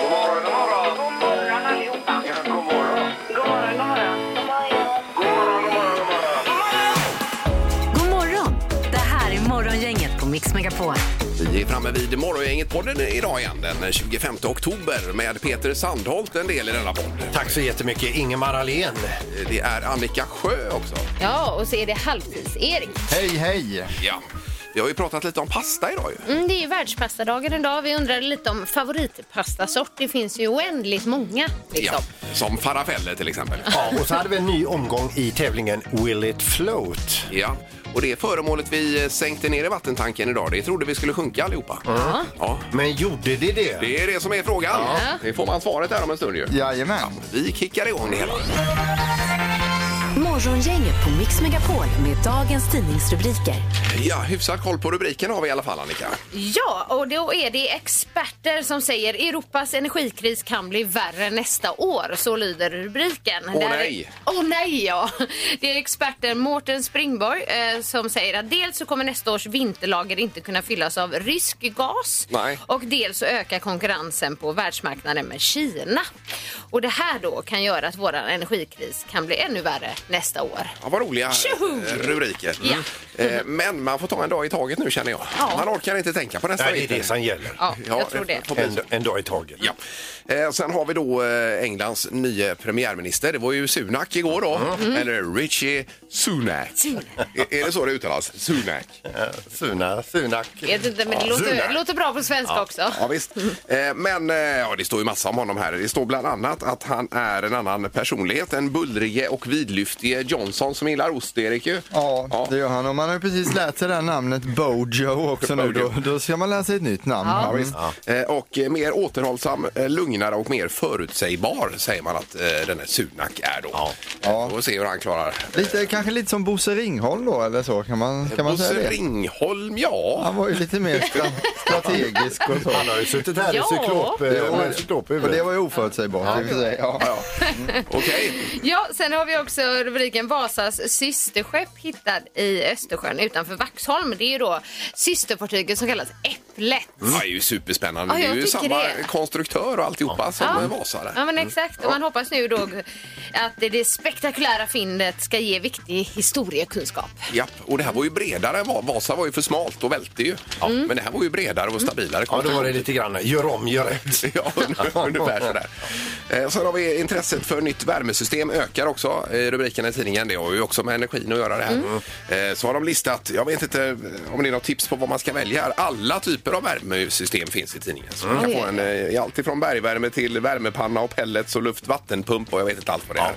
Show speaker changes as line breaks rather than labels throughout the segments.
God morgon, god morgon.
God morgon allihopa.
Ja, god morgon.
God morgon, god morgon.
God morgon, god morgon, god morgon.
God morgon! Det här är Morgongänget på Mix Megapol.
Vi är framme vid Morgongänget-podden idag igen den 25 oktober med Peter Sandholt en del i denna podd.
Tack så jättemycket, Ingemar Ahlén.
Det är Annika Sjö också.
Ja, och så är det halvtids-Erik.
Hej, hej!
Ja. Vi har ju pratat lite om pasta idag ju.
Mm, det är ju världspastadagen idag. Vi undrade lite om favoritpastasort. Det finns ju oändligt många. Liksom.
Som farafeller till exempel.
Ja, och så hade vi en ny omgång i tävlingen Will it float?
Ja. Och det är föremålet vi sänkte ner i vattentanken idag. Det trodde vi skulle sjunka allihopa. Ja.
Men gjorde det det?
Det är det som är frågan.
Ja.
Det får man svaret här om en stund ju.
Jajamän.
Vi kickar igång det hela.
Morgongänget på Mix Megapol med dagens tidningsrubriker.
Ja, hyfsat koll på rubriken har vi i alla fall Annika.
Ja, och då är det experter som säger Europas energikris kan bli värre nästa år. Så lyder rubriken.
Åh,
Där-
nej.
Åh nej ja! Det är experten Mårten Springborg eh, som säger att dels så kommer nästa års vinterlager inte kunna fyllas av rysk gas
Nej.
och dels så ökar konkurrensen på världsmarknaden med Kina. Och det här då kan göra att våran energikris kan bli ännu värre nästa år.
Ja, vad roliga
Tjoho!
eh, rubriker.
Ja.
Eh, Men man får ta en dag i taget nu känner jag.
Ja.
Man orkar inte tänka på nästa
Nej, det är
vinter.
det som gäller.
Ja, jag tror det.
får bli
En,
så.
en dag i taget.
Ja. Eh, sen har vi då eh, Englands nya premiärminister. Det var ju Sunak igår då.
Mm.
Mm.
Eller Richie Sunak. Är, är det så det uttalas? Sunak.
Eh, Suna, Sunak.
Jag vet inte, men det
Ja,
låter,
Sunak.
låter bra på svenska också.
Ja, visst. Eh, Men eh, ja, det står ju massa om honom här. Det står bland annat att han är en annan personlighet. En bullrige och vidlyftige Johnson som gillar ost, Erik. ju.
Ja, det gör han. Och man har ju precis lärt sig det här namnet Bojo också nu. Då,
Bojo.
då ska man lära sig ett nytt namn.
Ja.
Eh,
Mm.
Och eh, mer återhållsam, eh, lugnare och mer förutsägbar säger man att eh, den här Sunak är då. Ja.
Ja.
Och se hur han klarar.
Lite, kanske lite som Bosse Ringholm då, eller så. Kan man, kan man
Bosse
säga det?
Ringholm, ja.
Han var ju lite mer stra- strategisk och så.
Han har ju suttit här
Ja.
i cyklop, eh,
Ja.
med cyklophuvudet.
Och det var ju oförutsägbart i och för sig. Ja.
Okej.
Ja, sen har vi också rubriken Vasas systerskepp hittad i Östersjön utanför Vaxholm. Det är ju då systerfartyget som kallas Äpplet.
Ja, Det är ju superspännande.
Ja,
det
jag
är ju
tycker
samma
det.
konstruktör och alltihopa som
Ja.
ja. Vasa där.
Ja men exakt och man hoppas nu då att det- det spektakulära fyndet ska ge viktig historiekunskap.
Japp, och det här var ju bredare. än Va- Vasa var ju för smalt och välte ju. Men det här var ju bredare
Mm.
och stabilare.
Ja, då var det lite grann gör om, gör rätt.
Ja, un- ungefär sådär. Eh, Sen har vi intresset för nytt värmesystem ökar också. i Rubriken i tidningen, det har ju också med energin att göra det här. Eh, Så har de listat, jag vet inte eh, om det är något tips på vad man ska välja här. Alla typer av värmesystem finns i tidningen. Så man kan
Oj.
få en, eh, allt ifrån bergvärme till värmepanna och pellets och luftvattenpump och jag vet inte allt vad det är.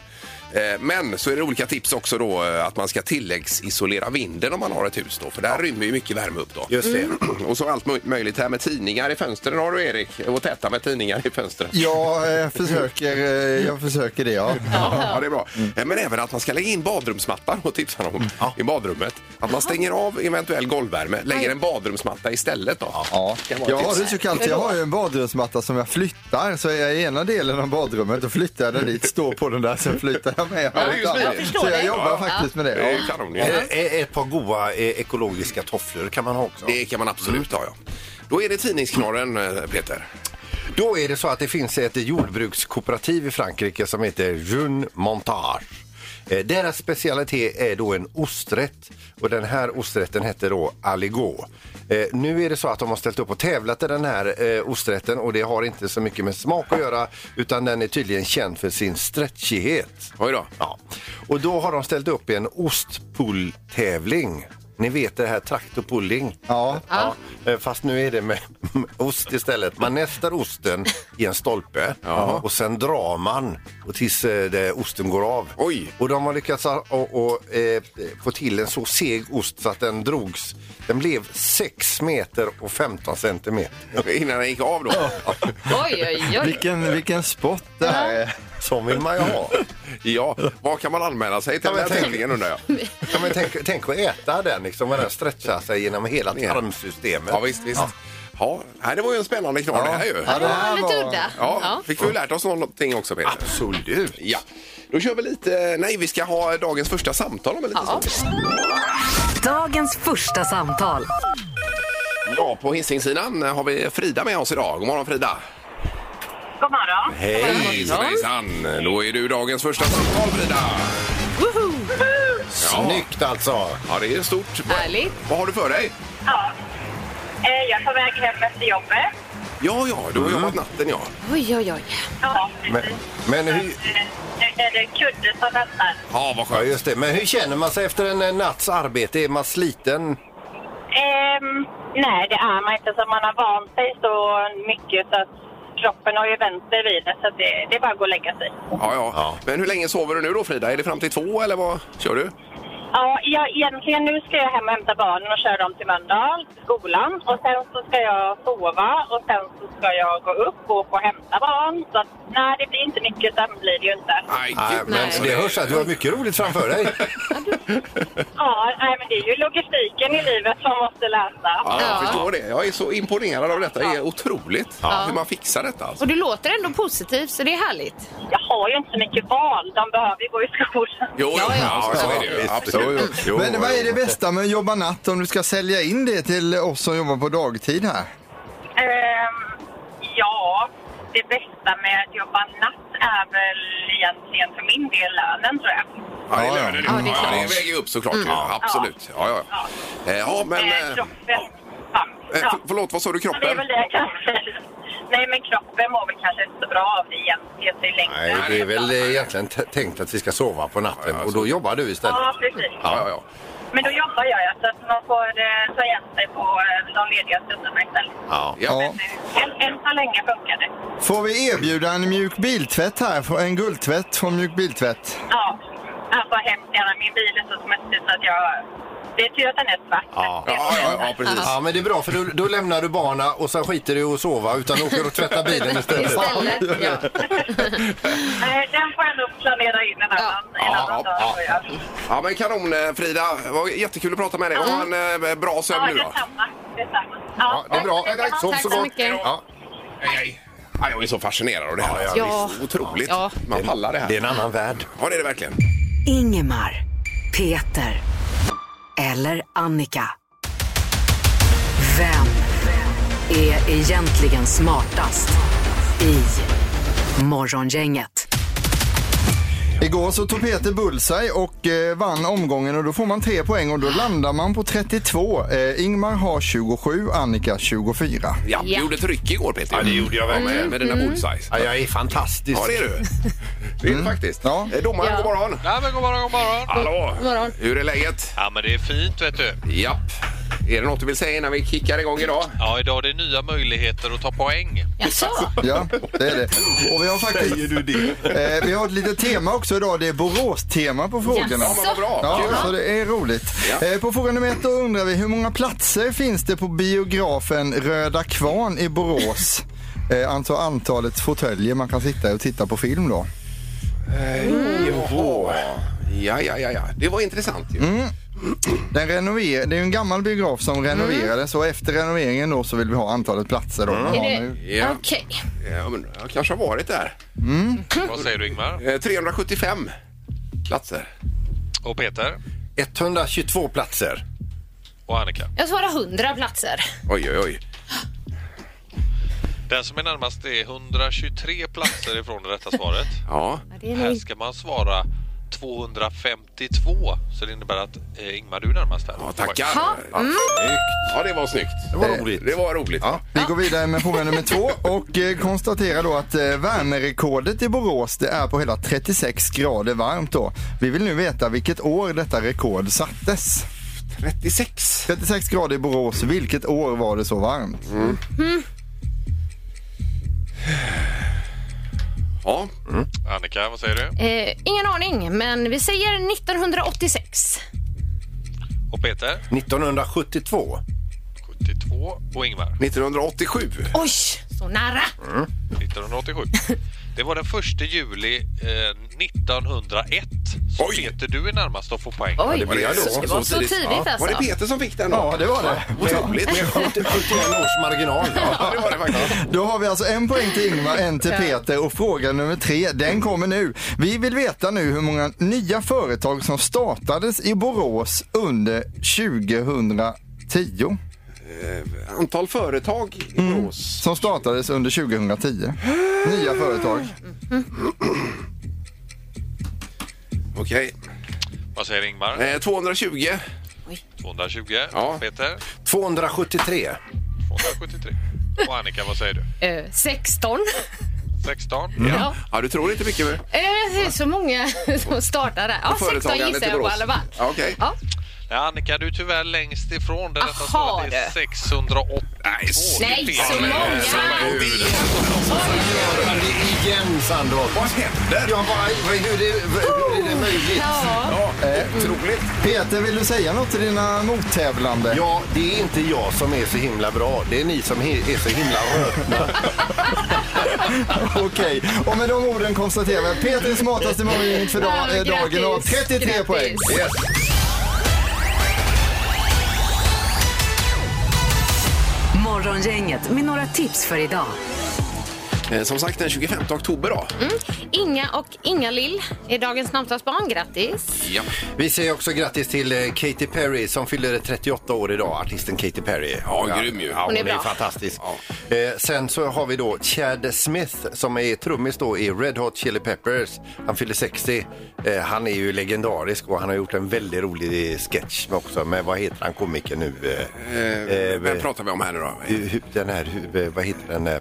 Eh, Men så är det olika tips också då eh, att man ska tilläggsisolera vinden om man har ett hus då. För där rymmer ju mycket värme upp då.
Just det.
Och så allt möj- möjligt här med tidningar i fönstren har du Erik. Och täta med tidningar i fönstren.
Ja, jag försöker, eh, jag försöker det ja.
Ja, det är bra. Eh, Men även att man ska lägga in badrumsmattan och tipsar
Mm.
om i badrummet. Att man stänger av eventuell golvvärme, lägger en badrumsmatta istället då.
Ja,
Kan vara
jag
ett
har
tips.
det så kallt. Jag har ju en badrumsmatta som jag flyttar. Så är jag i ena delen av badrummet och flyttar jag den dit, står på den där, sen flyttar jag med.
det är ju smidigt. Jag
förstår
så jag
det.
jobbar
Ja.
faktiskt med det.
Det
Ja.
är kanon ju.
Eh, eh, Ett par goa eh, ekologiska tofflor kan man ha också.
Det kan man absolut ha ja. Då är det tidningsknorren eh, Peter.
Då är det så att det finns ett jordbrukskooperativ i Frankrike som heter Jeune Montage. Eh, Deras specialitet är då en osträtt och den här osträtten hette då Aligo. Eh, nu är det så att de har ställt upp och tävlat i den här eh, osträtten och det har inte så mycket med smak att göra utan den är tydligen känd för sin stretchighet.
Oj då.
Ja. Och då har de ställt upp en ostpulltävling. Ni vet det här traktorpulling.
Ja.
Ja, eh, fast nu är det med ost istället. Man nästar osten i en stolpe och sen drar man och tills eh, det, osten går av.
Oj.
Och de har lyckats ha- och, och, eh, få till en så seg ost så att den drogs. Den blev 6 meter och 15 centimeter.
Innan den gick av då.
Oj, oj, oj.
Vilken, vilken spott det här är.
Som vill man ju ha.
Ja, vad kan man anmäla sig
Ja,
till den här
men tänk-
tävlingen undrar jag?
Ja, men tänk, tänk att äta den liksom. och Den stretchar sig genom hela tarmsystemet.
Ja visst, visst. Ja, nej, det var ju en spännande knorr det här ju.
Ja, det
Ja,
här
lite
var...
udda.
Ja, fick vi ju lärt oss någonting också Peter.
Absolut.
Ja. Då kör vi lite... Nej, vi ska ha dagens första samtal om en liten
Ja.
stund.
Dagens första samtal.
Ja, på Hisingssidan har vi Frida med oss idag. God morgon Frida!
God morgon.
Hej, hejsan! Då är du dagens första samtal, Frida. Ja.
Snyggt alltså!
Ja, det är stort. Vad-
Härligt.
Vad har du för dig?
Ja. Eh, Jag tar väg hem efter jobbet.
Ja, ja, du har jobbat natten, ja.
Oj, oj, oj.
Ja,
Men,
precis. eh,
men hur...
Det är det kudde som väntar.
Ja, vad
Ja,
skönt.
just det. Men hur känner man sig efter en eh, natts arbete? Är man sliten?
Ehm, nej, det är man inte. Så man har vant sig så mycket så att kroppen har ju vänt sig vid det. Så att det, det är bara att gå och lägga sig.
Ja, ja.
Ja.
Men hur länge sover du nu då, Frida? Är det fram till två, eller vad kör du?
Ja, jag, egentligen nu ska jag hem och hämta barnen och köra dem till Mölndal, till skolan. Och sen så ska jag sova och sen så ska jag gå upp och gå och hämta barn. Så att, nej, det blir inte mycket sömn blir det ju inte.
Nej,
Nej,
gud,
men
alltså,
det hörs att du har mycket roligt framför dig.
Ja, nej, men det är ju logistiken i livet som måste läsa.
Ja, jag
Ja.
förstår det. Jag är så imponerad av detta. Det är otroligt hur man fixar detta. Alltså.
Och du låter ändå positiv, så det är härligt.
Jag har ju inte så mycket val. De behöver ju gå i skolan.
Jo, ja, ja, så är det ju.
visst.
Absolut.
Jo, jo.
Men vad är det
Jo,
bästa med att jobba natt om du ska sälja in det till oss som jobbar på dagtid här?
Ehm, ja, det bästa med att jobba natt är väl egentligen för min del lönen, tror jag.
Ja, det lönar det.
Ja, det
Ja,
är klart.
det väger ju upp såklart. ju. Absolut. Ja, ja. Ja, ja men...
eh,
eh,
kroppen... Ja.
eh,
ja.
för- Förlåt, vad sa du?
Men det är
Kroppen?
väl det kanske. Nej, men kroppen mår väl kanske inte så bra av det egentligen i längden.
Nej, det är väl eh, egentligen t- tänkt att vi ska sova på natten och då jobbar du istället.
Ja, precis.
Ja, ja, ja.
Men då jobbar jag ju, så att man får eh, ta igen sig på eh, de lediga stunderna istället.
Ja.
Ja.
Än, än så länge funkar det.
Får vi erbjuda en mjuk biltvätt här? En guldtvätt från mjuk biltvätt?
Ja, alltså hemskt gärna. Min bil är så smutsig så att jag... Det är tur att den är svart.
Ja.
Ja, ja, ja, precis.
Ja, men det är bra för då, då lämnar du barna och sen skiter du i att sova utan åker och tvättar bilen istället.
Istället, ja.
Nej, Eh, den får jag nog planera in en annan, en
Ja,
annan
ja,
dag.
ja.
tror jag.
Ja, men kanon, eh, Frida. Det var jättekul att prata med dig. Ha en eh, bra sömn
Ja,
nu då.
detsamma. detsamma.
Ja, det är bra. Sov
Tack
så
så
gott.
mycket.
Ja.
Hej, hej. Ja, jag är så fascinerad av det här.
ja,
Ja,
visst.
Otroligt.
Ja.
Man pallar det
Det är
här.
en annan värld.
Ja, det är det verkligen.
Ingemar, Peter eller Annika. Vem är egentligen smartast i Morgongänget?
Igår så tog Peter bullseye och eh, vann omgången och då får man tre poäng och då landar man på 32. Eh, Ingmar har 27, Annika 24.
Ja, du
Ja.
gjorde ett ryck igår, Peter. Mm.
Ja, det gjorde jag verkligen.
Med, med dina bullseyes.
Ja, jag är fantastisk.
Ja, det är du. Det är du faktiskt.
Ja.
Eh, Domaren,
Ja.
god morgon.
Ja, men god morgon, god morgon.
Hallå.
morgon.
Hur är läget?
Ja, men det är fint, vet du.
Japp. Är det något du vill säga innan vi kickar igång idag?
Ja, idag är det nya möjligheter att ta poäng.
Jaså?
Ja, det är det. Och vi har faktiskt... Eh, vi har ett litet tema också idag. Det är Borås-tema på frågorna.
Ja, men vad bra.
Ja,
Kul.
så det är roligt.
Ja.
Eh, på fråga nummer ett då undrar vi hur många platser finns det på biografen Röda Kvarn i Borås? Eh, alltså antalet fåtöljer man kan sitta i och titta på film då.
Jaha. Ja, ja, ja, ja. Det var intressant ju.
Den renover- det är ju en gammal biograf som renoverades och efter renoveringen då så vill vi ha antalet platser då. Ja,
Är
nu-
det-
Ja.
Okej.
Ja, men jag kanske har varit där.
Vad säger du, Ingmar?
Eh, 375 platser.
Och Peter?
122 platser.
Och Annika?
Jag svarar 100 platser.
Oj, oj, oj.
Den som är närmast är 123 platser ifrån det rätta svaret.
Ja.
Det är
Här
nog
ska man svara 252, så det innebär att eh, Ingmar, du är närmast här.
ja tackar.
Ha. Mm.
Ja, ja, det var snyggt. Det
var roligt.
Det var roligt. Ja.
Vi går vidare med fråga nummer två och eh, konstaterar då att eh, värmerekordet i Borås det är på hela 36 grader varmt då. Vi vill nu veta vilket år detta rekord sattes.
36.
36 grader i Borås, vilket år var det så varmt?
Ja.
Annika, vad säger du?
Eh, ingen aning, men vi säger 1986.
Och Peter?
1972.
72. Och Ingmar?
1987.
Oj, så nära!
1987. Det var den 1 juli eh, 1901. Så
Oj.
Peter, du är närmast att få poäng.
Oj,
var det jag då.
så, det var
Så
så
tidigt.
tidigt,
Var det
alltså.
Peter som fick den? då?
Ja, det var det.
Otroligt.
71 års marginal.
Ja, det var det faktiskt.
Då har vi alltså en poäng till Ingmar, en till Peter och fråga nummer tre, den kommer nu. Vi vill veta nu hur många nya företag som startades i Borås under 2010.
Antal företag i Borås.
Som startades under 2010. Nya företag.
Okej.
Vad säger Ingmar?
Eh, 220.
220.
Ja.
Peter?
273.
273. Och Annika, vad säger du?
Eh, 16.
16?
Ja.
Ja, du tror inte mycket med
Eh, det är så många som startar där. Ja, 16
företagandet
gissar
i
jag på i
Borås.
alla fall.
Ja, okej.
Ja.
Nej, Annika, du är tyvärr längst ifrån. Det rätta
Aha,
svaret är
du.
682.
Nej, så-
Det är
Nej,
fel.
så
eh,
många.
Det igen, Sandholt.
Vad händer?
Ja, vad, vad, hur, är, vad, hur är det möjligt? eh,
Ja.
Ja, otroligt.
Peter, vill du säga något till dina mottävlande?
Ja, det är inte jag som är så himla bra. Det är ni som he- är så himla rötna.
Okej, och med de orden konstaterar vi att Peter är smartaste morgongänget för dag, eh, dagen och har 33 poäng.
Yes.
Morgongänget med några tips för idag.
Eh, Som sagt, den 25 oktober då.
Inga och Inga Lill är dagens namnsdagsbarn. Grattis!
Ja.
Vi säger också grattis till eh, Katy Perry som fyller 38 år idag. Artisten Katy Perry.
Ja, grym ju.
Ja, hon
Hon
är,
är bra.
fantastisk. Eh, sen så har vi då Chad Smith som är trummis då i Red Hot Chili Peppers. Han fyller 60. Eh, han är ju legendarisk och han har gjort en väldigt rolig sketch med också med vad heter han komikern nu? Eh,
Eh, Vem pratar vi om här nu då?
hu- hu- den här, hu- eh, vad heter den? eh?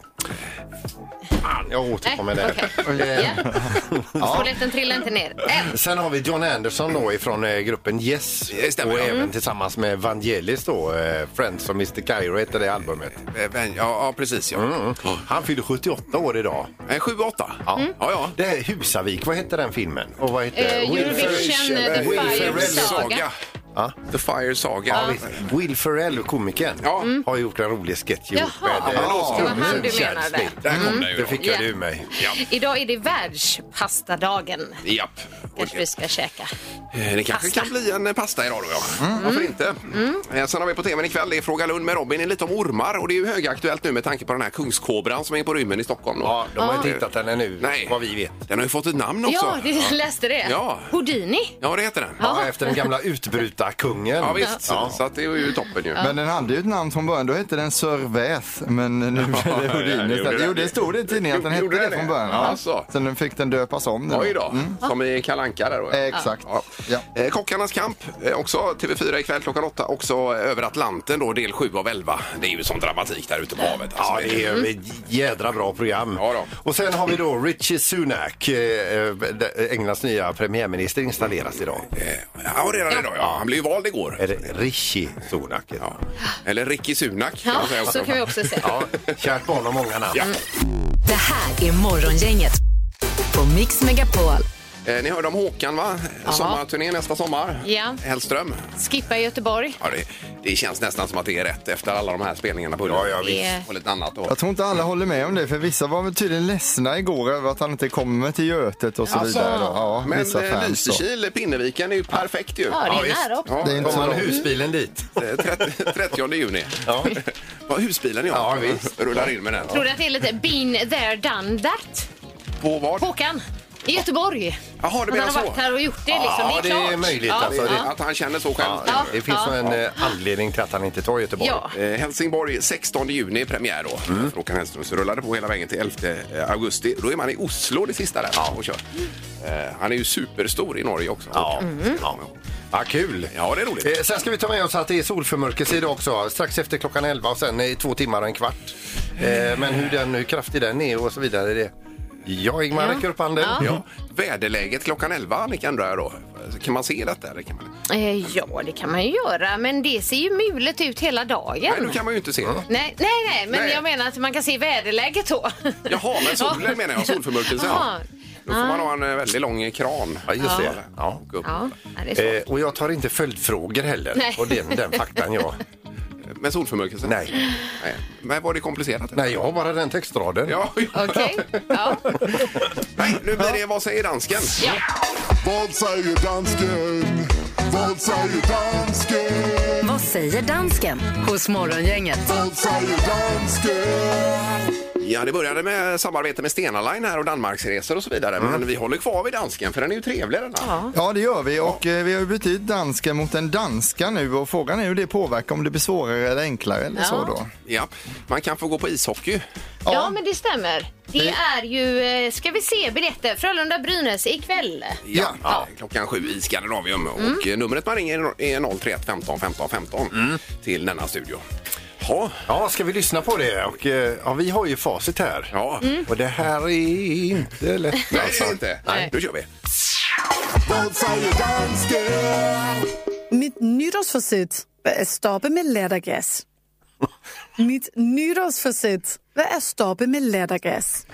Fan, jag återkommer
Nej,
där.
okej.
Eh,
Ja. Toaletten trillar inte ner än.
Sen har vi John Anderson då ifrån eh, gruppen Yes
Det stämmer,
och
ja. Mm.
även tillsammans med Vangelis då, eh, Friends och Mr Cairo heter det albumet.
Eh, vem- Ja, ja, precis. Ja.
Mm. Han fyller 78 år idag.
Eh, 7 8.
Ja.
Ja, ja.
Det här Husavik, vad hette den filmen? Och vad hette
Eh, Eurovision, eh, The
Will
Fire
Ferrell.
Saga.
Ja.
The Fire Saga.
Ja, visst. Will Ferrell, komikern,
Ja. Mm.
har gjort en rolig sketch ihop med
Jaha.
eh,
Ja, det var han du
Chad
menade.
Smith.
Där kom den ju
Det
då.
fick jag det
Ja.
ur mig.
Idag är det världspastadagen.
Japp. Och,
Kanske vi ska käka.
eh, Det kanske
Pasta.
kan bli en eh, pasta idag då, ja. Varför inte? Mm. Sen har vi på tvn ikväll, det är Fråga Lund med Robin, Det är lite om ormar och det är ju högaktuellt nu med tanke på den här kungskobran som är på rymmen i Stockholm. Då. Eh,
Ja, de har inte hittat den ännu,
Nej.
vad vi vet.
Den har ju fått ett namn också.
Ja, det, jag läste det.
Ja.
Houdini.
Ja, det heter den. Ja,
Ja, efter den gamla utbrytarkungen.
visst. Så att det är ju toppen ju.
Men den hade ju ett namn från början, då hette den Sir Väth, men nu blev det
ja, det
Houdin istället.
gjorde
Jo, det
det.
stod det i tidningen att den
Gjorde
hette
det
det från
det?
början.
Alltså.
Sen den fick den döpas om. nu.
Oj då, som i Kalanka där då.
Eh, Exakt.
Ja.
Ja.
Eh, Kockarnas kamp, eh, också TV4 ikväll klockan åtta, också eh, över Atlanten då, del 7 av 11. Det är ju sån dramatik där ute på havet.
Ja,
Alltså,
det är ett jädra bra program.
Ja då.
Och sen har vi då Richie Sunak, eh, eh, Englands nya premiärminister, installeras idag.
Eh, Ja, redan idag ja. Han blev ju vald igår.
Eller Rishi Sunak.
Ja. Eller Ricky Sunak kan jag säga
Ja,
också.
så kan vi också säga.
Ja, kärt barn har många namn.
Ja.
Det här är Morgongänget på Mix Megapol.
Eh, Ni hörde om Håkan va? Sommarturné nästa sommar.
Ja.
Hellström.
Skippa Göteborg.
Ja, det, det känns nästan som att det är rätt efter alla de här spelningarna på
ja,
visst. Det-
Och lite annat då.
Jag tror inte alla håller med om det, för vissa var väl tydligen ledsna igår över att han inte kommer till Götet och så vidare. då. Ja,
Alltså, Men
vissa
eh,
fans då.
Lysekil, Pinneviken är ju perfekt ju.
Ja, det är
visst.
nära också.
Ja,
Det är inte
Kommer
så
man
långt.
husbilen dit?
Eh, 30, 30 juni.
Ja.
Vad husbilen ja.
Ja, visst.
Rullar in med den.
Tror du att det är lite been there, done that?
På vad?
Håkan, i Göteborg.
Jaha,
Att
du
han
menar
har
så?
varit här och gjort det. Liksom.
Ja,
det är,
det är
klart.
möjligt, alltså.
Det-
Ja.
Att han känner så själv.
Ja,
Ja.
det finns nog en eh, anledning till att han inte tar Göteborg.
Ja.
Eh, Helsingborg 16 juni premiär då. Mm. Håkan Hellström. Så rullar det på hela vägen till 11 augusti. Då är man i Oslo det sista där och kör. Eh, han är ju superstor i Norge också.
Ja. Mm. Ja. ja, kul.
Ja, det är roligt.
Eh, Sen ska vi ta med oss att det är solförmörkelse idag också, strax efter klockan 11 och sen i två timmar och en kvart. Eh, Men hur, den, hur kraftig den är och så vidare, det... Ja, Ingmar
Ja.
räcker upp handen.
Ja.
Ja. Väderläget klockan 11 Annika undrar jag då. Så Kan man se detta? Eller kan man... inte?
Eh, ja, det kan man ju göra, men det ser ju mulet ut hela dagen.
Nej, då kan man ju inte se det.
Nej, nej, nej, men
Nej.
jag menar att man kan se väderläget då.
Jaha, men
Ja.
solen menar jag, solförmörkelsen.
Jaha.
Då får man ha en eh, väldigt lång eh, kran.
Ja, just det.
Ja. Gå upp.
Ja, nej, det är svårt.
Eh, och jag tar inte följdfrågor heller.
Nej.
Och den, den faktan jag.
Med solförmörkelsen?
Nej.
Nej. Men var det komplicerat?
Nej, jag har bara den textraden.
Ja.
Okej, ja.
Nej, nu blir det Vad säger dansken?
ja.
Vad säger dansken? Vad säger dansken?
Vad säger dansken hos Morgongänget?
Vad säger dansken?
Ja, det började med samarbete med Stena Line här och Danmarksresor och så vidare. Men vi håller kvar vid dansken för den är ju trevlig den här.
Ja, det gör vi och eh, vi har ju bytt ut dansken mot en danska nu och frågan är hur det påverkar, om det blir svårare eller enklare eller
Ja.
så då.
Ja, man kan få gå på ishockey.
ja, men det stämmer. Det är ju, eh, ska vi se, biljetter Frölunda-Brynäs ikväll.
Ja, klockan sju i Skandinavium. Och eh, numret man ringer är 031 15 15 15 till denna studio. Ja,
Ja, ska vi lyssna på det? Och, eh, ja, vi har ju facit här.
ja.
Mm.
Och det här är inte lätt
Nej,
alltså.
det är inte.
Nej.
Då kör vi.
Vad säger dansken?
Mitt nytårsförsett, vad är stoppa med lättergas? Mitt nytårsförsett, vad är stoppa med lättergas?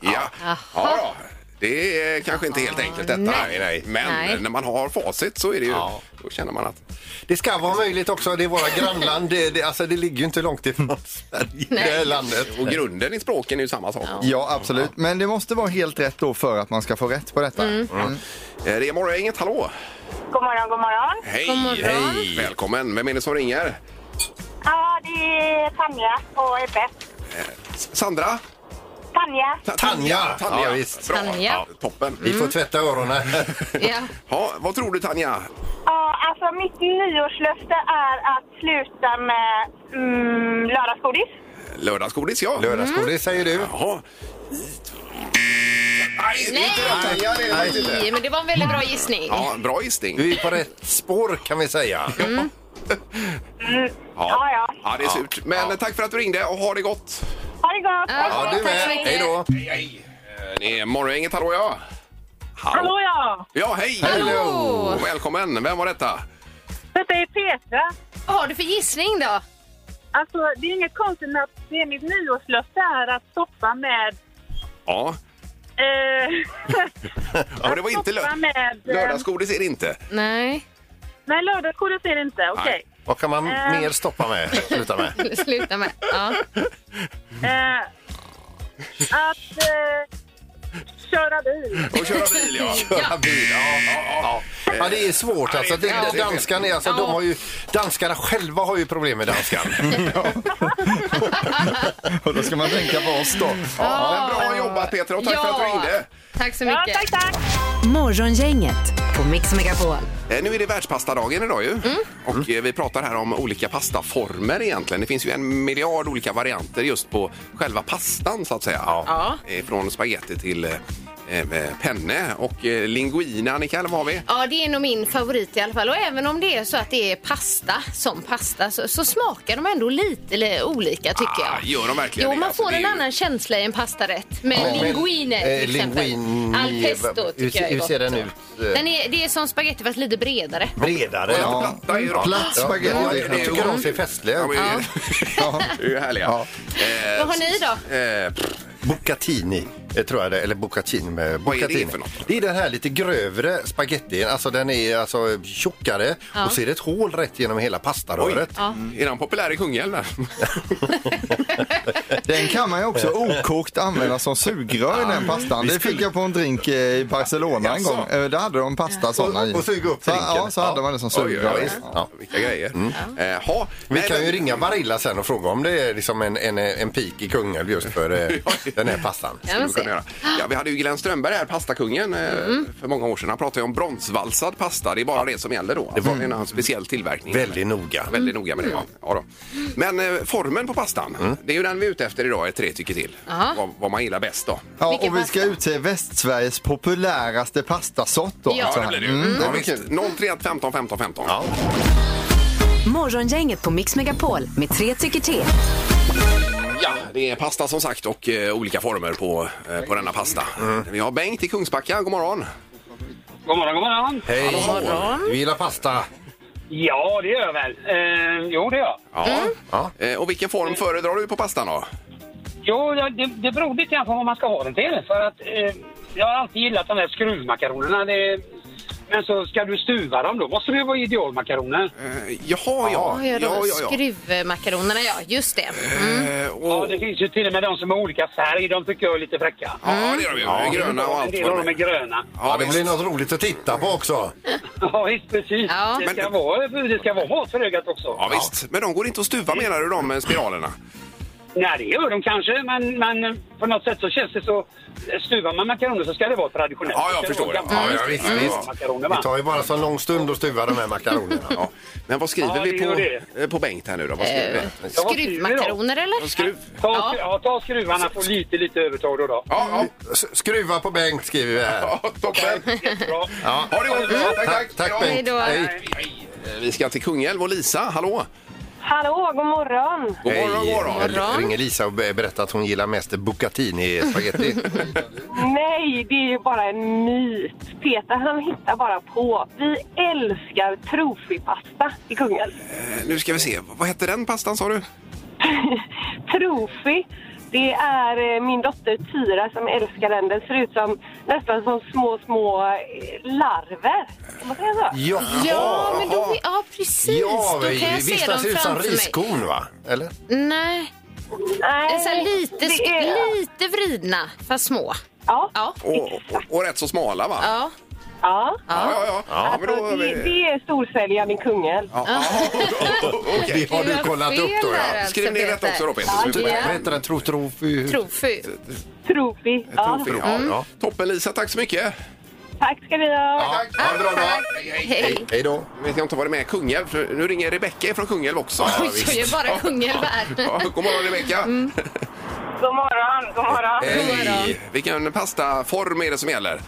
Ja, ja då. Det är kanske inte helt enkelt detta.
nej.
Men
Nej.
när man har facit så är det ju,
Ja.
då känner man att
Det ska vara möjligt också. Det är våra grannland. Det, det, alltså, det ligger ju inte långt ifrån Sverige, det här landet.
Och grunden i språken är ju samma sak.
Ja, absolut. Men det måste vara helt rätt då för att man ska få rätt på detta.
Mm.
Eh, Det är Morgongänget, hallå!
God morgon, god morgon.
Hej!
God morgon.
Hej! Välkommen! Vem är det som ringer?
Ja, det är Tanja på EBS.
Sandra?
Tanja.
Tanja!
Tanja.
Ja, visst. Mm.
Bra.
Tanja.
Ja, toppen!
Vi får tvätta öronen.
Ja.
Ja, vad tror du Tanja?
Ja, alltså mitt nyårslöfte är att sluta med mm, lördagsgodis.
Lördagsgodis, ja.
Lördagsgodis säger du.
Jaha. Nej, det är inte rätt, Tanja. Det är det faktiskt inte.
Nej, men det var en väldigt bra gissning.
Ja, bra gissning.
Du är på rätt spår kan vi säga.
Ja, ja.
Ja, det är surt. Men tack för att du ringde och ha det gott.
Ha det gott!
Ja, du med. Hej då!
Eh, Det är Morgongänget, hallå ja.
Hallå ja!
Ja, hej!
Hallå.
Och Välkommen! Vem var detta?
Detta är Petra.
Vad har du för gissning då?
Alltså, det är inget konstigt med att det är mitt nyårslöfte är att stoppa med...
Ja,
Eh,
och det var inte
stoppa
lö-
med... eh,
lördagsgodis är det inte.
Nej,
Nej, lördagsgodis är det inte. Okej.
Vad kan man mer stoppa med? Sluta med?
sluta med. Ja.
Eh, att eh, köra bil.
Och köra bil, ja.
Köra bil, ja, ja, ja. ja, det är svårt alltså. Det,
Ja, det är
danskan är alltså,
Ja.
de har ju, danskarna själva har ju problem med danskan.
Och då ska man tänka på oss då.
Ja, men bra jobbat Peter och tack för att du ringde.
Tack så
Ja,
mycket.
tack, tack!
Morgongänget på Mix Megapol.
Eh, Nu är det världspastadagen idag ju.
Mm.
Och eh, vi pratar här om olika pastaformer egentligen. Det finns ju en miljard olika varianter just på själva pastan så att säga.
Ja.
Eh, Från spaghetti till eh, eh, penne och eh, linguine Annika, eller vad har vi?
Ja, det är nog min favorit i alla fall. Och även om det är så att det är pasta som pasta så, så smakar de ändå lite li- olika tycker
Ah,
jag.
gör de verkligen
Jo,
det?
man
Alltså,
får
det är
en
ju-
annan känsla i en pastarätt. Med
Ja, men,
linguine
eh,
till exempel.
linguine-
Al pesto
hur,
tycker jag är
Hur
gott.
ser den ut?
Den är, det är som spagetti fast lite bredare.
Bredare?
Ja.
Ja.
Platta är ju då.
Platt spagetti.
Ja,
det-
jag tycker de ser festliga
Ja,
ut.
men- Det är ju härliga.
Ja.
Eh,
Vad har ni då?
Eh, pff,
Bucatini, eh, tror jag det Eller bucatini. Med
Vad är det
bucatini.
för något?
Det är den här lite grövre spagettin. Alltså den är alltså tjockare och ser ett hål rätt genom hela pastaröret.
Är den populär i Kungälv? där?
Den kan man ju också okokt använda som sugrör i den pastan. Det fick jag på en drink eh, i Barcelona en
Jaså?
gång. Eh, Där hade de pasta sådana i.
Och- och suga upp
så,
drinken.
Ja, så hade man det som
Oj, ja,
sugrör.
visst. Ja, vilka grejer. Eh, ha.
Vi
Nej,
kan ju
men-
ringa Barilla sen och fråga om det är liksom en, en, en peak i Kungälv just för eh, den här pastan.
Ja,
skulle
men se.
kunna göra. Ja, vi hade ju Glenn Strömberg här, pastakungen, eh, för många år sedan. Han pratade ju om bronsvalsad pasta. Det är bara det som gäller då. Det var en annan speciell tillverkning.
Väldigt noga.
Väldigt noga med det. Ja. Ja, då. Men eh, formen på pastan, det är ju den vi är ute efter idag, är tre tycker till.
Aha.
Vad, vad man gillar bäst då.
Ja,
Vilken
och vi ska
pasta?
utse Västsveriges populäraste pastasort då.
Ja,
alltså.
det
blir det ju.
Mm, det
Ja,
blir
visst.
kul.
031 15 15 15.
Ja.
Morgongänget på Mix Megapol med tre tycker till.
Ja, det är pasta som sagt och eh, olika former på, eh, på denna pasta. Vi har Bengt i Kungsbacka, god morgon.
God morgon, god morgon.
Hej! Du gillar pasta?
Ja, det gör jag väl. Eh, jo, det gör jag.
Ja.
Ja.
Eh, och vilken form föredrar du på pastan då?
Jo, ja, det, det beror lite grann på vad man ska ha den till. För att, eh, jag har alltid gillat de här skruvmakaronerna. Det, men så ska du stuva dem, då måste det ju vara idealmakaroner.
Eh, jaha, ja.
Oj,
ja,
de
ja, ja.
Skruvmakaronerna, ja. Just det. Mm.
Eh,
Ja,
och,
det finns ju till och med de som har olika färg. De tycker jag är lite fräcka.
ja, det gör vi. Ja. Gröna och
En
allt
del av
vad
dem är
det är.
gröna.
Ja,
Ja,
det
visst.
blir något roligt att titta på också.
Ja, visst, precis.
Ja.
Det, ska
Men-
vara, det ska vara mat för ögat också. Mm.
Ja, visst. Men de går inte att stuva menar du, de eh, spiralerna?
Nej, det gör de kanske, men, men på något sätt så känns det så... Stuvar man makaroner så ska det vara traditionellt.
Ja, jag
Det ska
förstår
vara
det.
gamla-
Ja, ja, visst,
gamla
visst.
makaroner, va?
Det tar ju bara så lång stund att stuva de här makaronerna.
Ja. Men vad skriver
Ja, det Eh,
vi
gör
på, eh, på Bengt här nu då? Vad skriver vi?
Ja, vad skriver vi då?
Skruvmakaroner eller?
Skruv.
Ta, ja. ta skruvarna på lite, lite övertag då. då.
Ja, ja.
S- Skruva på Bengt skriver vi här.
Ja, toppen!
Bra.
Ja.
Ha det gott!
Mm.
Tack, tack!
Tack, tack
Ja.
Bengt.
Hej då.
Hej.
Eh, Vi ska till Kungälv och Lisa, hallå!
Hallå, god morgon!
God morgon, god morgon!
Hej.
morgon.
Ringer Lisa och be- berättar att hon gillar mest bucatini-spagetti.
Nej, det är ju bara en myt. Peter han hittar bara på. Vi älskar trofipasta i Kungälv.
Eh, Nu ska vi se, vad hette den pastan sa du?
Trofi, det är eh, min dotter Tyra som älskar den. Den ser ut som nästan som små, små eh, larver. Kan man säga så?
ja,
Ja, men då, vi- ja precis.
ja
då kan jag
visst
se
den
dem
ser ut som
framför mig.
riskorn va? Eller?
Nej, det är så här lite,
det
sk-
är-
lite vridna, fast små.
Ja.
Ja.
Och, och, och rätt så smala va?
Ja.
ja.
ja, ja. ja. ja men då
Alltså,
är
det,
vi...
det är storsäljaren i Kungälv.
Ja, ja, okej.
Det har du
Vad
kollat
fel
upp då
där
ja.
alltså,
Skriv ner detta
Peter.
också då Peter. så vi får med.
Vad heter den? Tro, tro,
Trofy.
Trofi. Ja.
Trofé, ja. Ja. Toppen Lisa, tack så mycket!
Tack ska ni ha.
Ja, ha en bra dag.
Hej.
Hej då.
Vet jag inte vad det är med Kungälv, för nu ringer Rebecka från Kungälv också.
Oj, så är bara Mm. Kungälv här.
Ja, god morgon Rebecka!
God morgon, god morgon.
Hej! Vilken pastaform är det som gäller?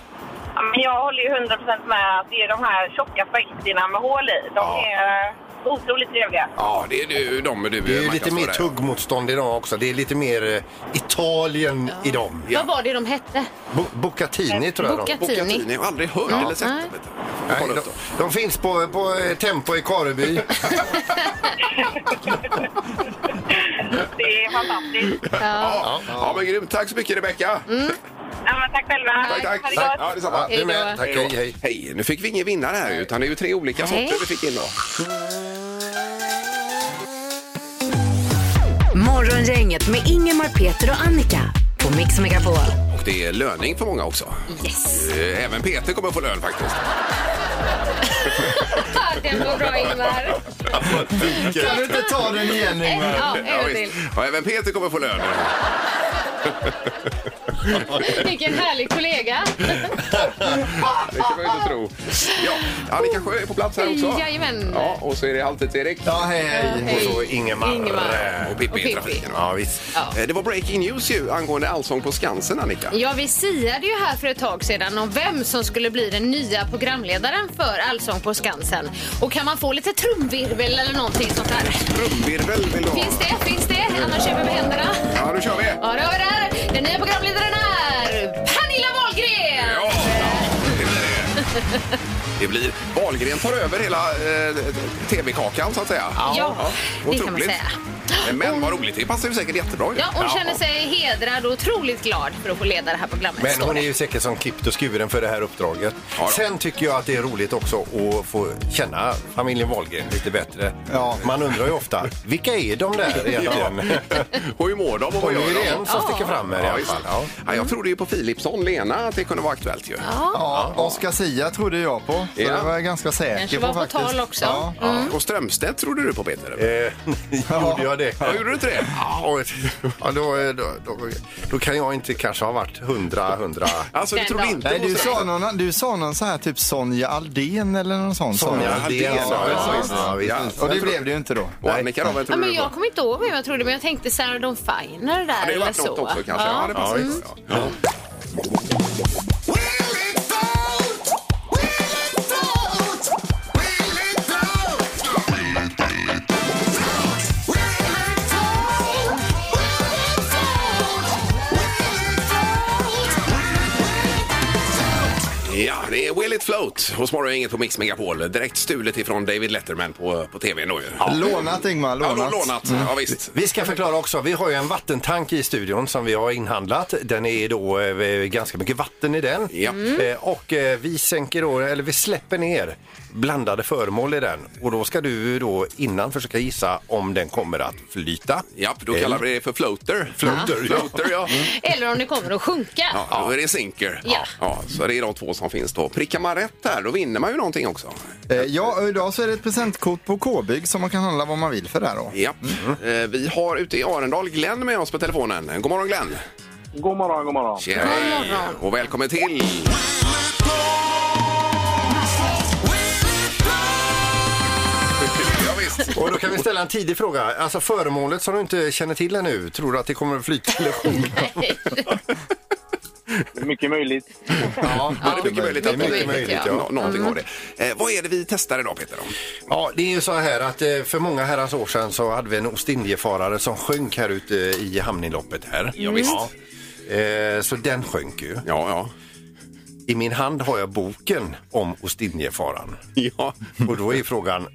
Ja, men jag håller ju 100% med att det är de här tjocka spagettina med hål i. De
Ja.
är eh, otroligt trevliga.
Ja, det är du, de du
Det är ju lite
marknadsför
mer
där.
tuggmotstånd idag också. Det är lite mer eh, Italien i dem.
Vad var det de hette?
Bo- Bucatini tror jag de.
Bucatini.
Bucatini. Jag har aldrig hört eller sett
Nej.
dem. vet du. Jag
Nej,
kollar
de,
upp dem.
de finns på, på eh, Tempo i Kareby.
Det är fantastiskt.
Ja. ja, men grymt. Tack så mycket, Rebecka.
Mm.
Ja, men tack själva.
Tack, tack.
Ha det
tack.
gott.
Ja, detsamma.
Du med.
då.
Tack, hej, hej.
Hej, nu fick vi ingen vinnare här utan det är ju tre olika
Nej.
sorter vi fick in då.
Morgongänget med Ingemar, Peter och Annika på Mix Megapol.
Och det är löning för många också.
Mm. Yes.
Eh, Även Peter kommer få lön faktiskt.
Ja, Den går bra Ingvar.
Kan du inte ta den igen Ingvar?
Ja, en
visst.
till.
ja, även Peter kommer få lön.
Vilken härlig kollega.
Det kan man ju inte tro. Ja, Annika Sjö är på plats här också.
Jajamän.
Ja, och så är det alltid erik
Ja, hej, hej.
Och så Ingemar.
Ingemar.
Och Pippi i
Pippi.
trafiken.
Ja, visst.
Ja.
Eh, Det var breaking news ju angående Allsång på Skansen, Annika.
Ja, vi siade ju här för ett tag sedan om vem som skulle bli den nya programledaren för Allsång på Skansen. Och kan man få lite trumvirvel eller någonting sånt här?
Trumvirvel vill du ha?
Finns det? Finns det? Annars är vi med händerna.
Ja, nu kör vi!
Ja, då har vi det här. Den nya programledaren är Pernilla Wahlgren!
Ja, det blir det. Det blir Wahlgren tar över hela eh, tv-kakan så att säga.
Ja, det kan man
otroligt.
säga.
Men vad roligt, det passar ju säkert jättebra. ju.
Ja, hon känner sig hedrad och otroligt glad för att få leda det här programmet.
Men
står
hon
det.
är ju säkert som klippt och skuren för det här uppdraget.
Ja då.
Sen tycker jag att det är roligt också att få känna familjen Wahlgren lite bättre.
Ja.
Man undrar ju ofta, vilka är de där egentligen?
Och hur mår de och vad
Och
gör
nu är det
de?
en som
Ja.
sticker fram här i
Ja,
alla
just det.
fall. Ja.
Ja, jag trodde ju på Philipsson, Lena, att det kunde vara aktuellt ju.
Ja, Oscar Sia trodde jag på. Så
Ja.
det var jag ganska
Kanske
säker
var
på
på
faktiskt.
tal också. Mm.
Ja.
Och Strömstedt trodde du på Peter? Ja.
Eh, Gjorde jag det?
gjorde du inte det?
Ja, och- ja, då, eh, då, då, då kan jag inte kanske ha varit hundra, hundra.
Alltså, du
Den
trodde
dagen.
inte
Nej,
på
du sa,
Strömstedt?
någon, du sa någon så här typ Sonja Aldén eller någon sån. sa du.
Sonja
Aldén,
Aldén.
ja,
Ja,
visst.
ja, visst.
Ja.
Och det blev det ju inte då.
Och Annika då, vem
Ja,
trodde
men
du på?
jag kommer inte ihåg vem jag trodde, men jag tänkte Sarah Dawn Finer där
Ja, det har
eller
varit
så.
något också kanske. Ja, det passar ju. Ja. Ja, det är Will It Float hos Morgongänget på Mix Megapol. Direkt stulet ifrån David Letterman på, på tv nu ju. Ja,
Lånat Ingmar,
lånat. Ja,
lånat. Mm.
lånat. ja visst.
Vi ska förklara också, vi har ju en vattentank i studion som vi har inhandlat. Den är då eh, ganska mycket vatten i den.
Ja.
Eh, och eh, vi sänker då, eller vi släpper ner blandade föremål i den. Och då ska du då innan försöka gissa om den kommer att flyta.
Japp, då kallar vi det för floater.
Floater, ja.
floater ja.
Eller om det kommer att sjunka.
Ja, då är det sinker.
Ja.
Ja, så det är de två som finns då. Prickar man rätt här, då vinner man ju någonting också.
Eh, ja, och idag så är det ett presentkort på K-bygg som man kan handla vad man vill för där då.
Ja.
Mm.
Eh, Vi har ute i Arendal Glenn med oss på telefonen. God morgon Glenn!
God morgon, god morgon.
Tjena! Och välkommen till! Ja, visst.
Och då kan vi ställa en tidig fråga. Alltså föremålet som du inte känner till ännu, tror du att det kommer att flyta eller sjunka?
Mycket möjligt.
Ja,
Ja, det är mycket möjligt
det är
att det
mycket möjligt,
ja.
ja.
nå- någonting av det. Eh, vad är det vi testar idag Peter? Då?
Ja, det är ju så här att eh, för många herrans år sedan så hade vi en ostindiefarare som sjönk här ute i hamninloppet här. Ja,
visst.
Eh, Så den sjönk ju.
Ja, ja.
I min hand har jag boken om ostindiefararen.
ja.
Och då är frågan,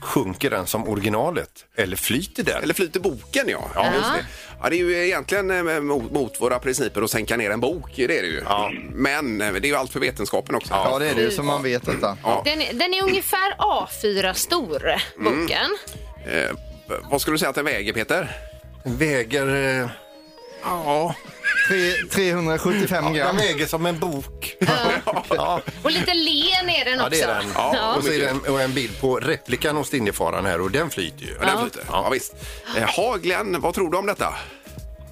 sjunker den som originalet eller flyter den?
Eller flyter boken ja. Ja, just det. ja. Det är ju egentligen eh, mot, mot våra principer att sänka ner en bok, det är det ju. Men eh, det är ju allt för vetenskapen också.
Ja, det är det ju som man vet detta.
Den, är- den är ungefär A4 stor, boken.
Eh, vad skulle du säga att den väger Peter?
Väger... eh, Ja,
Tre- 375
den
gram.
väger som en bok. ja,
Och lite len är den
ja,
också.
det är den.
Ja.
Och så är det en, och en bild på replikan hos ostindiefararen här och den flyter ju.
Ja. Den flyter. Ja, visst. Eh, ha, Glenn, vad tror du om detta?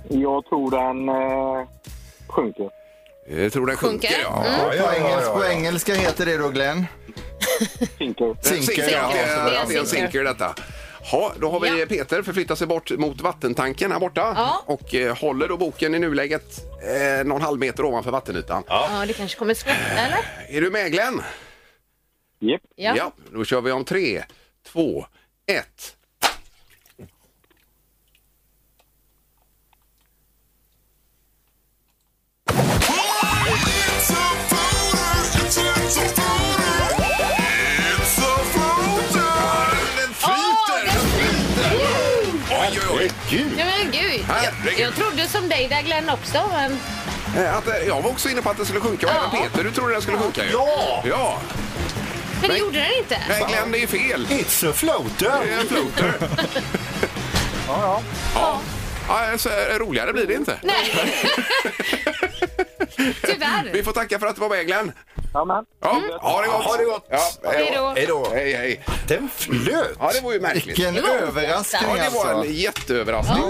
Jag tror den eh, sjunker.
Jag Eh, tror den sjunker.
Sjunker?
Ja.
Ja, ja,
På,
ja,
engelska, på
ja, ja.
engelska heter det då Glenn?
Sinker.
Sinker,
Sinker.
ja.
ja.
Det
Det
är,
är
det är en
sinker.
sinker detta. Ja, då har vi
Ja.
Peter förflyttar sig bort mot vattentanken här borta
Ja.
och eh, håller då boken i nuläget eh, någon halv meter ovanför vattenytan.
Ja, det kanske kommer skvätta, eller?
Är du med Glenn?
Japp.
Ja.
Då kör vi om tre, två, ett. Den
Åh, den
Oj, oj, oj!
Ja, men gud. Jag,
Herregud.
jag trodde som dig där Glenn också. Men...
Eh, Att, eh, jag var också inne på att den skulle sjunka och
Ja.
även Peter, du trodde den skulle sjunka ju.
Ja!
Ja!
Men det gjorde den inte.
Nej Glenn, det är fel.
It's a floater!
Det är en floater. ja, ja. Ja. så eh, roligare blir det inte.
Nej. Tyvärr.
Vi får tacka för att du var med Glenn.
Jajamän.
Ja, ha det gott!
Mm. Ha det gott.
Ja, hej
Hej
då.
då.
Hej då!
Hej, hej.
Den flöt!
Ja, det var ju märkligt.
Vilken
Det var
överraskning
oväntat.
Ja, det var
alltså.
en jätteöverraskning.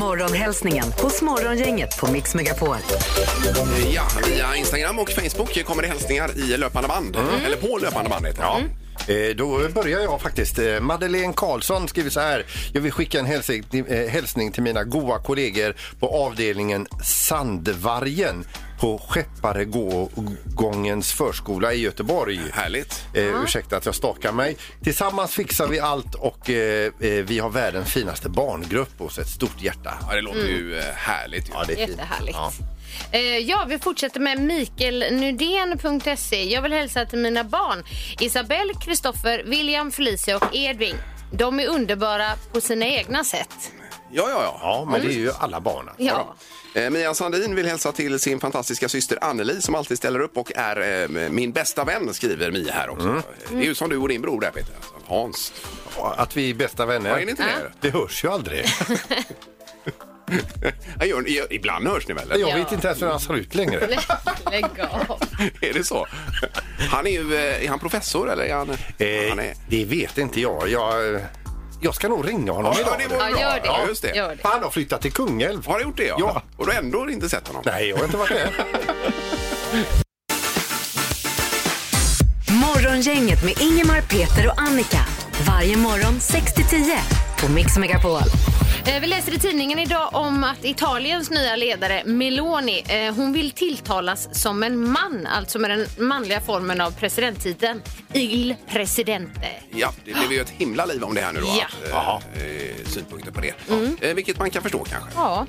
Morgonhälsningen hos Morgongänget på Mix Megapol.
Ja, via Instagram och Facebook kommer det hälsningar i löpande band.
Mm.
Eller på löpande band heter det. Ja.
Eh, Då börjar jag faktiskt. Eh, Madeleine Karlsson skriver så här. Jag vill skicka en hälsning, eh, hälsning till mina goa kollegor på avdelningen Sandvargen på Skepparegångens förskola i Göteborg.
Härligt.
Eh, Ursäkta att jag stakar mig. Tillsammans fixar vi allt och eh, eh, vi har världens finaste barngrupp och så ett stort hjärta.
Ja, det låter ju eh, härligt. ju.
det är fint.
Jättehärligt.
Ja.
Eh, Ja, vi fortsätter med mikaelnudén.se. Jag vill hälsa till mina barn Isabelle, Kristoffer, William, Felicia och Edvin. De är underbara på sina egna sätt.
Ja, ja, ja.
ja, men det är ju alla barn. alltså.
Ja.
Eh, Mia Sandin vill hälsa till sin fantastiska syster Anneli som alltid ställer upp och är eh, min bästa vän, skriver Mia här också.
Mm.
Det är ju som du och din bror där Peter, alltså, Hans.
Att vi är bästa vänner.
Ja, är ni inte det?
det hörs ju aldrig.
Ja, gör, ni- ibland hörs ni väl?
Jag
eller?
Ja.
vet inte ens hur han ser ut längre.
Lä- Lägg av.
Är det så? Han är ju, eh, är han professor eller är han?
Eh,
han är,
Det vet inte jag. Jag, eh, jag ska nog ringa honom
ja,
idag.
det vore
Ja,
bra.
gör det.
Ja, just det.
Gör det.
Han har flyttat till Kungälv.
Har han gjort det? Ja.
Ja.
Och du har ändå inte sett honom?
Nej, jag har inte varit där.
Morgongänget med Ingemar, Peter och Annika. Varje morgon 6 till 10 på Mix Megapol.
Eh, Vi läser i tidningen idag om att Italiens nya ledare Meloni, eh, hon vill tilltalas som en man, alltså med den manliga formen av presidenttiteln, Il Presidente.
Ja, det blev ju ett himla liv om det här nu då.
Ja. Mm.
Att, eh, synpunkter på det. Eh, vilket man kan förstå kanske.
Ja.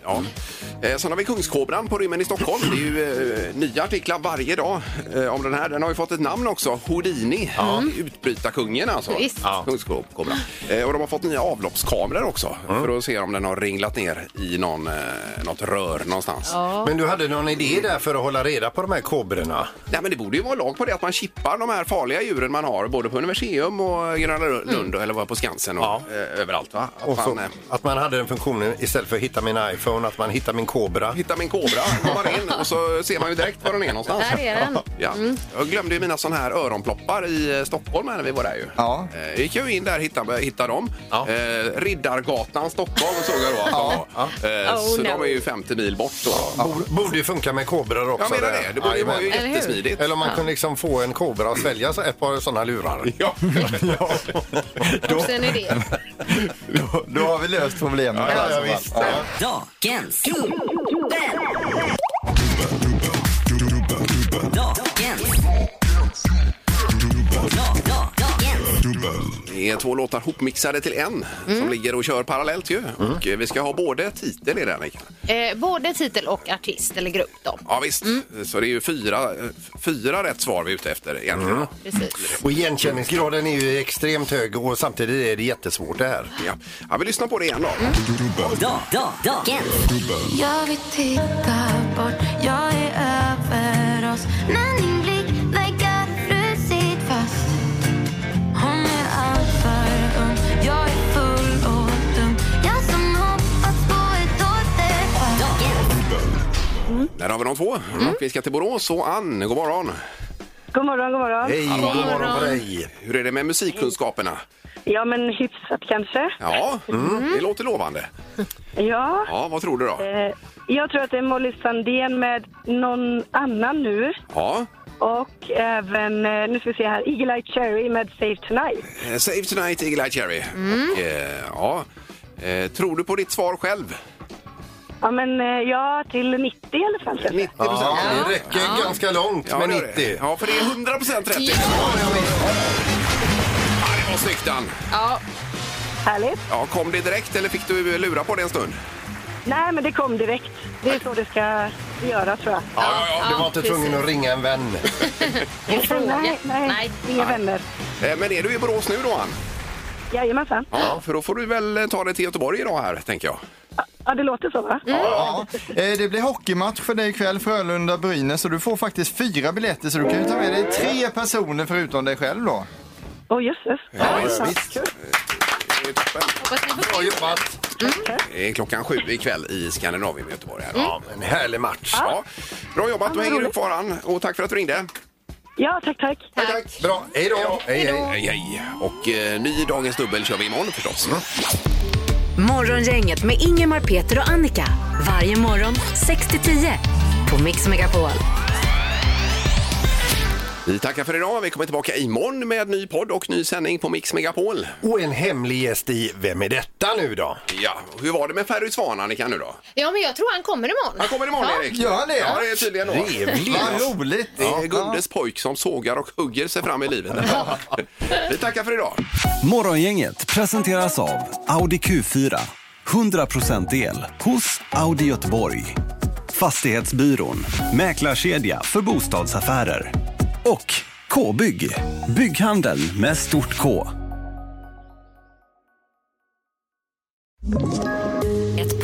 Eh, sen har vi Kungskobran på rymmen i Stockholm. Det är ju eh, nya artiklar varje dag eh, om den här. Den har ju fått ett namn också, Houdini. Utbrytarkungen alltså.
Visst.
Kungskobran. Eh, och de har fått nya avloppskameror också för att se om den har ringlat ner i någon, eh, något rör någonstans.
Ja.
Men du hade någon idé där för att hålla reda på de här kobrorna?
Nej, men det borde ju vara lag på det, att man chippar de här farliga djuren man har, både på Universium och Gröna Lund eller vad på Skansen och eh, överallt. Va? Att
Och så,
man, eh,
att man hade den funktionen istället för att hitta min iPhone, att man hittar min kobra.
Hitta min kobra, går man in och så ser man ju direkt var den är någonstans.
Där är den.
Ja. Jag glömde ju mina sådana här öronploppar i eh, Stockholm här när vi var där ju.
Ja.
Eh, gick jag ju in där och hittade, hittade dem. Eh, Riddargatan, Stockholm såg jag då att de var. Eh,
Oh,
så
no.
de är ju 50 mil bort. Då.
Borde- Borde ju funka med kobror också.
Jag menar
där.
det, det borde ju vara ju
Jajamän.
Eller hur?
jättesmidigt.
Eller om man kunde liksom få en kobra att svälja så- ett par sådana lurar.
Ja.
Också en idé.
Då, då har vi löst problemet.
Ja,
alltså.
ja, visst.
Dagens dubbel. Dagens. Da- Dagens.
Det är två låtar hopmixade till en som ligger och kör parallellt ju. Och eh, vi ska ha både titel i den Mikael.
Eh, både titel och artist eller grupp då.
Ja visst, så det är ju fyra, eh, fyra rätt svar vi är ute efter egentligen.
Precis.
Och igenkänningsgraden är ju extremt hög och samtidigt är det jättesvårt det här.
Ja. ja, vi lyssnar på det igen då.
Da- da- Dagens.
Jag vill titta bort, jag är över oss När din blick verkar frusit fast Hon är alltför ung, jag är full och dum Jag som hoppats på ett återfall
Där har vi de två. Och vi ska till Borås och Ann, god morgon.
God morgon, god morgon.
Hej, god morgon på dig!
Hur är det med musikkunskaperna?
Ja, men hyfsat kanske.
Ja, det låter lovande.
Ja.
Ja, vad tror du då?
Eh, jag tror att det är Molly Sandén med någon annan nu.
Ja,
Och även, eh, nu ska vi se här, Eagle Eye Cherry med Save Tonight.
eh, Save Tonight, Eagle Eye Cherry. Och, eh, ja. Eh, tror du på ditt svar själv?
Ja, men eh, ja, till 90 i alla fall. typ. kanske.
90
Ja, det räcker ganska långt
Ja,
med
det gör det.
90.
Ja, för det är 100 procent rätt. Ja, det var snyggt, Ann.
Ja,
Härligt.
Ja, kom det direkt eller fick du lura på det en stund?
Nej, men det kom direkt. Det är så det ska göra, tror jag.
Ja, ja, du var
ja,
inte
precis.
tvungen att ringa en vän.
Nej, nej,
Nej.
inga vänner.
Eh, men är du i Borås nu då, Ann?
Jajamensan.
Ja, för då får du väl eh, ta dig till Göteborg idag här, tänker jag.
Ja, det låter så, va?
Ja, eh, det blir hockeymatch för dig ikväll, Frölunda-Brynäs, och du får faktiskt fyra biljetter så du kan ju ta med dig tre personer förutom dig själv då.
Åh, jösses.
Ja, visst. Det är toppen.
hoppas ni
Bra
bookar.
jobbat!
Det är klockan sju ikväll i Skandinavien i Göteborg. Här. Mm.
Ja, en härlig match.
Ja. Bra jobbat, du hänger upp kvar Ann. Och tack för att du ringde.
Ja, tack, tack.
Tack.
Bra, hej då! Hej, hej.
Hej, hej. Och eh, ny Dagens Dubbel kör vi imorgon förstås.
Morgongänget med Ingemar, Peter och Annika. Varje morgon 6 till 10 på Mix Megapol.
Vi tackar för idag. Vi kommer tillbaka imorgon med ny podd och ny sändning på Mix Megapol.
Och en hemlig gäst i Vem är detta nu då?
Ja, hur var det med Ferry Svan, Annika, nu då?
Ja, men jag tror han kommer imorgon.
Han kommer imorgon, Erik.
Gör han det?
Ja, det är tydligen då.
Vad roligt!
Det är Gundes pojk som sågar och hugger sig fram i livet. Vi tackar för idag.
Morgongänget presenteras av Audi Q4. 100% el hos Audi Göteborg. Fastighetsbyrån, mäklarkedja för bostadsaffärer. Och K-bygg, bygghandeln med stort K.
Ett